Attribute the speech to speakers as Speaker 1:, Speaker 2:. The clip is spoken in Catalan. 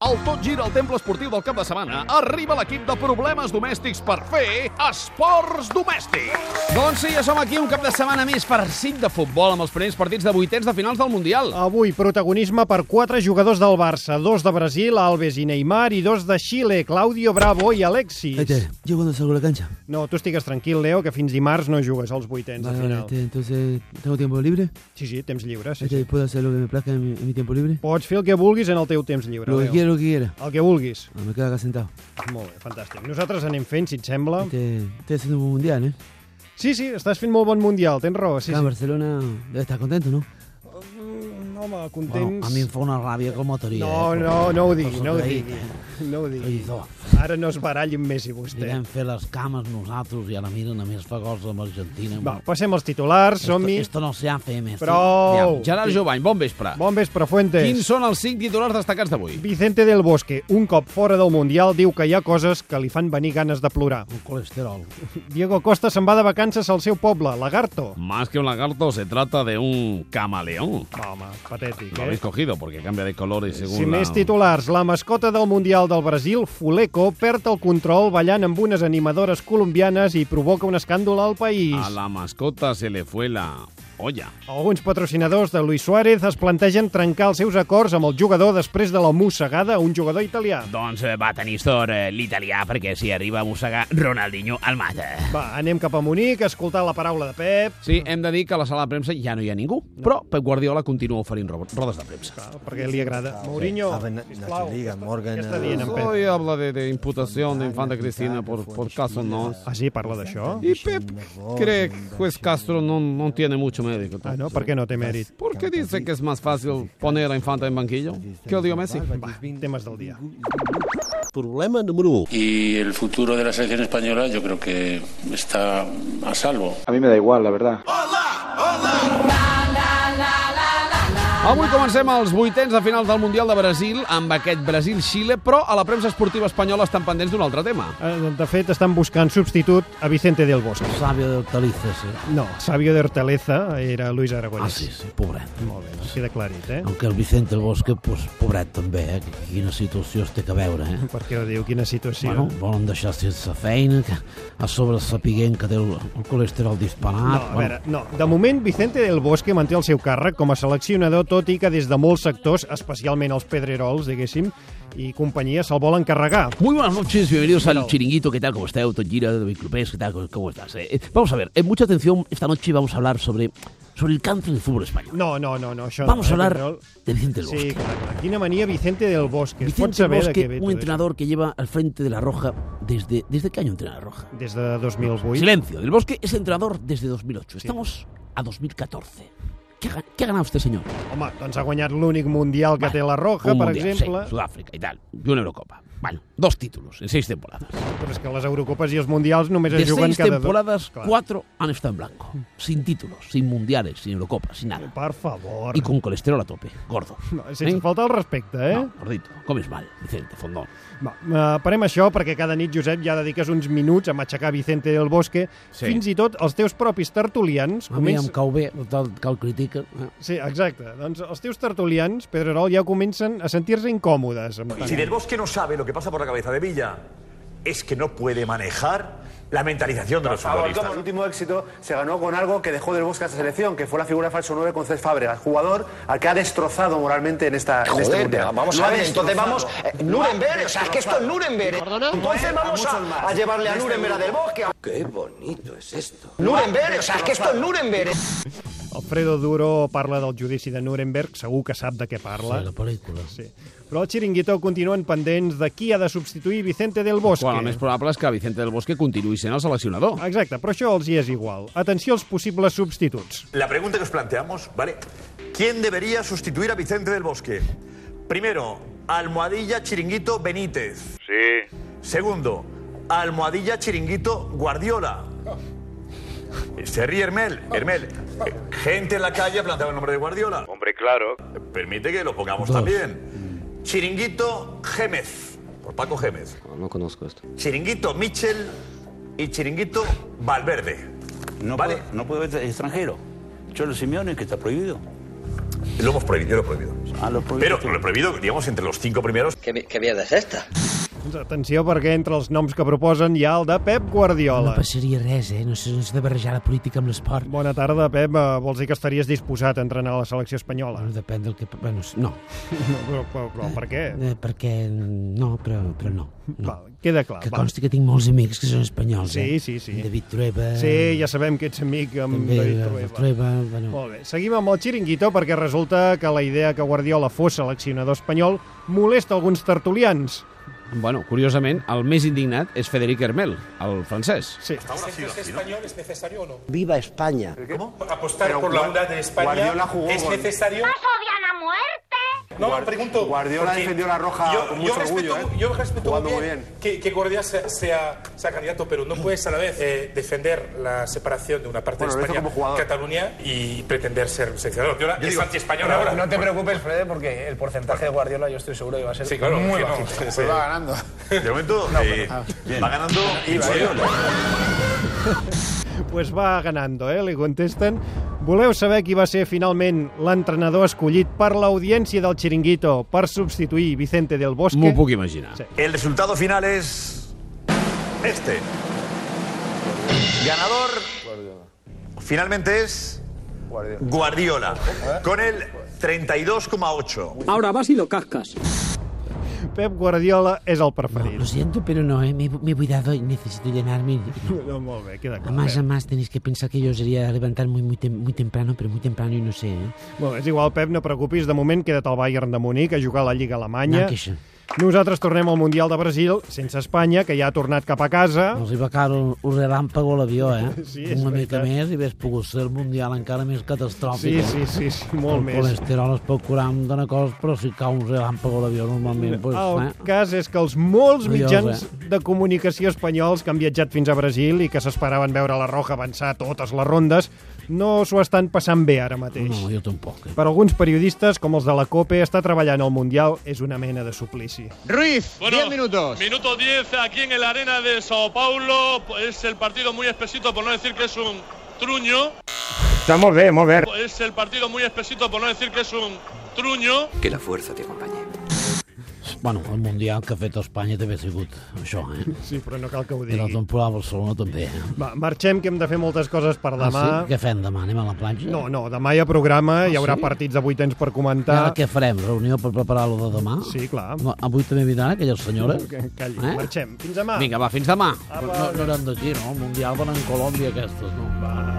Speaker 1: Al Tot Gira al Temple Esportiu del cap de setmana arriba l'equip de problemes domèstics per fer esports domèstics.
Speaker 2: Doncs sí, ja som aquí un cap de setmana més farcit de futbol amb els primers partits de vuitens de finals del Mundial.
Speaker 3: Avui, protagonisme per quatre jugadors del Barça, dos de Brasil, Alves i Neymar, i dos de Xile, Claudio Bravo i Alexis.
Speaker 4: Vete, yo cuando salgo a la cancha.
Speaker 3: No, tu estigues tranquil, Leo, que fins dimarts no jugues als vuitens de
Speaker 4: Vale, vale,
Speaker 3: final.
Speaker 4: este, entonces tengo tiempo libre.
Speaker 3: Sí, sí, temps lliure, sí,
Speaker 4: Este,
Speaker 3: sí.
Speaker 4: puedo hacer lo que me plazca en mi, en mi tiempo libre.
Speaker 3: Pots fer el que vulguis en el teu temps lliure,
Speaker 4: Lo que
Speaker 3: Leo.
Speaker 4: quiera, lo que quiera.
Speaker 3: El que vulguis. Ah,
Speaker 4: No, me quedo acá sentado.
Speaker 3: Molt bé, fantàstic. Nosaltres anem fent, si et sembla.
Speaker 4: Este, estoy haciendo un buen mundial, ¿eh?
Speaker 3: Sí, sí, estàs fent molt bon Mundial, tens raó. Sí,
Speaker 4: acá en
Speaker 3: sí.
Speaker 4: Barcelona debe estar contento, ¿no?
Speaker 3: Mm, Home,
Speaker 4: Bueno,
Speaker 3: contents...
Speaker 4: a mí me fue una rabia como eh, teoría.
Speaker 3: No, no, no ho digui, no ho digui. No ho digui.
Speaker 4: Oye, no.
Speaker 3: Ara no es baralli amb Messi, vostè.
Speaker 5: Anirem fer les cames nosaltres i ara mira només fa gols amb Argentina.
Speaker 3: Va, passem als titulars, som-hi.
Speaker 5: Esto, esto no se hace, més.
Speaker 3: Prou!
Speaker 2: Gerard Jovany, bon vespre.
Speaker 3: Oh, Bon vespre, Fuentes.
Speaker 2: Quins són els cinc titulars destacats d'avui?
Speaker 3: Vicente del Bosque, un cop fora del Mundial, diu que hi ha coses que li fan venir ganes de plorar.
Speaker 5: El colesterol.
Speaker 3: Diego Costa se'n va de vacances al seu poble, Lagarto.
Speaker 2: Más que un lagarto, se trata de un camaleón.
Speaker 3: Home, patètic,
Speaker 2: Lo
Speaker 3: eh?
Speaker 2: habéis cogido porque cambia de colores según
Speaker 3: Si
Speaker 2: la...
Speaker 3: més titulars, la mascota del Mundial del Brasil, Fuleco, perd el control ballant amb unes animadores colombianes i provoca un escàndol al país.
Speaker 2: A la mascota se le fue la olla.
Speaker 3: Alguns patrocinadors de Luis Suárez es plantegen trencar els seus acords amb el jugador després de la mossegada a un jugador italià.
Speaker 6: Doncs eh, va tenir sort eh, l'italià perquè si arriba a mossegar Ronaldinho el mata.
Speaker 3: Va, anem cap a Munic a escoltar la paraula de Pep,
Speaker 2: Sí, hem de dir que a la sala de premsa ja no hi ha ningú, però Pep Guardiola continua oferint ro- rodes de premsa.
Speaker 3: perquè li agrada. Mourinho, sisplau,
Speaker 7: Liga, Morgan...
Speaker 3: què està dient en Pep?
Speaker 2: Hoy habla de, de imputación de Infanta Cristina por, por caso no.
Speaker 3: Ah, sí, parla d'això?
Speaker 2: Y Pep cree que juez Castro no, no tiene mucho mérito.
Speaker 3: Ah, no? Per què no té mèrit?
Speaker 2: ¿Por qué dice que es más fácil poner a Infanta en banquillo que el dio Messi?
Speaker 3: Va, temes del dia.
Speaker 7: Problema número 1.
Speaker 8: y el futuro de la selección española yo creo que está a salvo.
Speaker 9: A mí me da igual, la verdad.
Speaker 2: Avui comencem els vuitens de final del Mundial de Brasil amb aquest Brasil-Xile, però a la premsa esportiva espanyola estan pendents d'un altre tema.
Speaker 3: Eh, De fet, estan buscant substitut a Vicente del Bosque.
Speaker 5: Sàvio d'hortalices, eh?
Speaker 3: No, Sabio de Hortaleza era Luis
Speaker 5: Ah,
Speaker 3: Aragonés.
Speaker 5: sí, sí, pobret.
Speaker 3: Molt bé, doncs queda clarit, eh?
Speaker 5: Aunque el Vicente Bosque, pues, pobret també, eh? Quina situació es té que veure, eh?
Speaker 3: Per què ho diu? Quina situació?
Speaker 5: Bueno,
Speaker 2: eh?
Speaker 5: volen deixar sense feina, que a sobre sapiguent que té el, el colesterol
Speaker 3: No,
Speaker 6: Ah,
Speaker 5: disparat.
Speaker 3: a veure, no. De moment, Vicente del Bosque manté el seu càrrec com a seleccionador, tot i que des de molts sectors, especialment els pedrerols, diguéssim, i companyia, se'l vol encarregar.
Speaker 6: Muy buenas noches, bienvenidos al Chiringuito. ¿Qué tal? ¿Cómo está? Auto Gira, Clubes, ¿qué tal? ¿Cómo- ¿Cómo estás? Eh, eh, vamos a ver, eh, mucha atención. Esta noche vamos a hablar sobre, sobre el cáncer del fútbol español.
Speaker 3: No, no, no, no això
Speaker 6: Vamos
Speaker 3: no, eh,
Speaker 6: a hablar
Speaker 3: Pedrerol?
Speaker 6: de Vicente del
Speaker 3: Sí,
Speaker 6: Bosque.
Speaker 3: clar, clar. Quina mania Vicente del Bosque. Es
Speaker 6: Vicente
Speaker 3: pot saber de
Speaker 6: del
Speaker 3: què
Speaker 6: Bosque,
Speaker 3: ve
Speaker 6: un
Speaker 3: tot això.
Speaker 6: entrenador que lleva al frente de la Roja desde... ¿Desde qué año entrena la Roja?
Speaker 3: Des de 2008.
Speaker 6: Silencio. Del Bosque es entrenador desde 2008. Estamos a 2014. ¿Qué ha, qué ha ganado este señor?
Speaker 3: Home, doncs ha guanyat l'únic mundial que té la Roja,
Speaker 6: Un
Speaker 3: per
Speaker 6: mundial,
Speaker 3: exemple.
Speaker 6: sí, Sudáfrica y tal. Y una Eurocopa. Bueno, dos títulos en seis temporadas.
Speaker 3: Però és que les Eurocopes i els Mundials només
Speaker 6: De
Speaker 3: es juguen
Speaker 6: seis
Speaker 3: cada
Speaker 6: temporadas,
Speaker 3: dos. Clar.
Speaker 6: cuatro han estado en blanco. Sin títulos, sin mundiales, sin Eurocopa, sin nada.
Speaker 3: Per favor.
Speaker 6: Y con colesterol a tope. Gordo.
Speaker 3: No, sense
Speaker 6: ¿Eh?
Speaker 3: faltar el respecte, eh?
Speaker 6: No, gordito. Comes mal, Vicente, fondón.
Speaker 3: Va, eh, parem això perquè cada nit, Josep, ja dediques uns minuts a matxacar Vicente del Bosque.
Speaker 2: Sí.
Speaker 3: Fins i tot els teus propis tertulians...
Speaker 5: A mi
Speaker 3: comencen-
Speaker 5: em cau bé, el tal que el critica. Eh?
Speaker 3: Sí, exacte. Doncs els teus tertulians, Pedrerol, ja comencen a sentir-se incòmodes. Amb tant.
Speaker 10: Si Del Bosque no sabe lo que pasa por la cabeza de Villa, es que no puede manejar la mentalización de los futbolistas.
Speaker 7: El último éxito se ganó con algo que dejó del bosque a esta selección, que fue la figura falso 9 con Cés Fábregas, jugador al que ha destrozado moralmente en esta. en este mundial.
Speaker 10: vamos
Speaker 7: Lo
Speaker 10: a
Speaker 7: ha
Speaker 10: ver, entonces
Speaker 7: destrozado.
Speaker 10: vamos, eh, Nuremberg, o sea, es que esto es
Speaker 7: Lo ha
Speaker 10: Nuremberg.
Speaker 7: destrozado.
Speaker 10: Entonces vamos a-
Speaker 7: muchos más.
Speaker 10: a llevarle a
Speaker 7: De este
Speaker 10: Nuremberg a
Speaker 7: mundo.
Speaker 10: Del Bosque.
Speaker 7: Qué bonito es esto.
Speaker 10: Nuremberg, o sea, es que esto es Nuremberg.
Speaker 3: Alfredo Duro parla del judici de Nuremberg, segur que sap de què parla.
Speaker 5: Sí, la pel·lícula.
Speaker 3: Sí. Però el Chiringuito continuen pendents de qui ha de substituir Vicente del Bosque.
Speaker 2: Quan el més probable és que Vicente del Bosque continuï sent el seleccionador.
Speaker 3: Exacte, però això els hi és igual. Atenció als possibles substituts.
Speaker 10: La pregunta que os planteamos, ¿vale? ¿Quién debería sustituir a Vicente del Bosque? Primero, Almohadilla Chiringuito Benítez. Sí. Segundo, Almohadilla Chiringuito Guardiola. Se ríe Hermel, Hermel. eh, Gente en la calle ha planteado el nombre de Guardiola. Hombre, claro. Permite que lo pongamos también. Chiringuito Gémez, por Paco Gémez.
Speaker 4: No conozco esto.
Speaker 10: Chiringuito Mitchell y Chiringuito Valverde.
Speaker 8: No,
Speaker 10: Vale.
Speaker 8: puede, no puede haber extranjero. Cholo Simeone, que está prohibido.
Speaker 10: Lo hemos prohibido, yo lo he prohibido.
Speaker 11: a Ah, lo prohibido.
Speaker 10: Pero lo prohibido, digamos, entre los cinco primeros.
Speaker 11: ¿Qué, vi- qué vida es esta?
Speaker 3: Doncs Atenció, perquè entre els noms que proposen hi ha el de Pep Guardiola.
Speaker 6: No passaria res, eh? No s'ha no s'ha de barrejar la política amb l'esport.
Speaker 3: Bona tarda, Pep. Eh, Vols dir que estaries disposat a entrenar la selecció espanyola?
Speaker 6: Bueno, depèn del que... Bueno, no.
Speaker 3: No, però, però, però per què?
Speaker 6: Eh, perquè... No, però, però no. no.
Speaker 3: Val, queda clar.
Speaker 6: Que
Speaker 3: Ah, val.
Speaker 6: consti que tinc molts amics que són espanyols,
Speaker 3: Sí,
Speaker 6: eh?
Speaker 3: sí, sí.
Speaker 6: David Trueba...
Speaker 3: Sí, ja sabem que ets amic amb
Speaker 6: També
Speaker 3: David
Speaker 6: la- la
Speaker 3: eh, Trueba.
Speaker 6: Trueba, bueno.
Speaker 3: Molt bé. Seguim amb el xiringuito perquè resulta que la idea que Guardiola fos seleccionador espanyol molesta alguns tertulians.
Speaker 2: Bueno, curiosament, el més indignat és Federic Hermel, el francès.
Speaker 3: Sí.
Speaker 7: español es necesario o no?
Speaker 2: Viva Espanya.
Speaker 10: ¿Cómo?
Speaker 7: Apostar
Speaker 2: Pero
Speaker 7: por la
Speaker 2: Guar-
Speaker 7: unidad de España
Speaker 2: Guardiola jugó
Speaker 7: es
Speaker 2: con-
Speaker 7: necesario. No,
Speaker 12: Guar-
Speaker 7: pregunto.
Speaker 12: Guardiola
Speaker 7: porque
Speaker 12: defendió la roja
Speaker 7: yo,
Speaker 12: con
Speaker 7: yo
Speaker 12: mucho
Speaker 7: respeto,
Speaker 12: orgullo, ¿eh?
Speaker 7: Yo respeto
Speaker 12: Jugando
Speaker 7: muy
Speaker 12: muy
Speaker 7: bien, Que, que Guardiola sea, sea- sea candidato, pero no puedes a la vez eh, defender la separación de una parte
Speaker 12: Bueno,
Speaker 7: de
Speaker 12: lo hizo
Speaker 7: España,
Speaker 12: como jugador.
Speaker 7: Cataluña, y pretender ser seleccionador. Guardiola
Speaker 12: Yo
Speaker 7: es
Speaker 12: digo-
Speaker 7: anti-español
Speaker 13: No,
Speaker 7: ahora.
Speaker 13: no te preocupes, Fred, porque el porcentaje de Guardiola yo estoy seguro que va a ser
Speaker 7: Sí, claro,
Speaker 13: muy
Speaker 7: sí, no,
Speaker 13: bajo.
Speaker 7: sí,
Speaker 13: Pues
Speaker 7: sí.
Speaker 13: va ganando.
Speaker 10: De momento, eh, va ganando Guardiola.
Speaker 3: Pues va ganando, eh? Li contesten. Voleu saber qui va ser finalment l'entrenador escollit per l'audiència del xiringuito per substituir Vicente del Bosque?
Speaker 2: M'ho puc imaginar. Sí.
Speaker 10: El resultado final es este. Ganador finalmente es Guardiola, ¿Eh? con el 32,8.
Speaker 6: Ahora vas y lo cascas.
Speaker 3: Pep Guardiola és el preferit.
Speaker 6: Lo siento, pero no, eh? Me, me he cuidado y necesito llenarme.
Speaker 3: No, molt bé, queda clar. eh?
Speaker 6: Además,
Speaker 3: Bé.
Speaker 6: además, tenéis que pensar que yo sería levantar muy, muy, tem- muy temprano, pero muy temprano y no sé, ¿eh?
Speaker 3: Bueno, és igual, Pep, no preocupis, de moment queda't al Bayern de Múnich a jugar a la Lliga Alemanya.
Speaker 6: No em queixo.
Speaker 3: Nosaltres tornem al Mundial de Brasil sense Espanya, que ja ha tornat cap a casa.
Speaker 6: Els hi va caure un, un relàmpago a l'avió, eh?
Speaker 3: Sí, és
Speaker 6: Una mica
Speaker 3: veritat.
Speaker 6: més i hagués pogut ser el Mundial encara més
Speaker 3: Sí,
Speaker 6: catastròfic.
Speaker 3: sí, sí, sí, molt
Speaker 6: el
Speaker 3: més.
Speaker 6: colesterol es pot curar amb dona cosa, però si cau un relàmpago a l'avió normalment, doncs,
Speaker 3: El
Speaker 6: eh?
Speaker 3: cas és que els molts
Speaker 6: Adiós,
Speaker 3: mitjans
Speaker 6: eh?
Speaker 3: de comunicació espanyols que han viatjat fins a Brasil i que s'esperaven veure la Roja avançar totes les rondes no s'ho estan passant bé ara mateix.
Speaker 6: No, jo tampoc. eh?
Speaker 3: Per alguns periodistes, com els de la COPE, estar treballant al Mundial és una mena de suplici.
Speaker 14: Ruiz,
Speaker 3: 10 minutos.
Speaker 14: Minuto 10 aquí en el Arena de Sao Paulo. Es el partido muy espesito, por no decir que es un truño.
Speaker 15: Està molt bé, molt bé.
Speaker 14: Es el partido muy espesito, por no decir que es un truño.
Speaker 15: Que la fuerza te acompañe.
Speaker 6: Bueno, el Mundial que ha fet Espanya també ha sigut això, eh?
Speaker 3: Sí, però no cal que ho
Speaker 6: I la
Speaker 3: digui.
Speaker 6: temporada a Barcelona també, eh?
Speaker 3: Va, marxem, que hem de fer moltes coses per demà.
Speaker 6: Ah, sí? Què fem demà? Anem a la platja?
Speaker 3: No, no, demà hi ha programa,
Speaker 6: Ah,
Speaker 3: hi haurà
Speaker 6: sí?
Speaker 3: partits de vuitens per
Speaker 6: I
Speaker 3: comentar.
Speaker 6: ara què farem? Reunió per preparar-lo de demà?
Speaker 3: Sí, clar.
Speaker 6: No, Eh? avui també vindran aquelles senyores?
Speaker 3: Que- Calli, marxem. Fins demà.
Speaker 6: Vinga, va, fins demà. No, no eren d'aquí, no? El Mundial van en Colòmbia, aquestes, no? Va.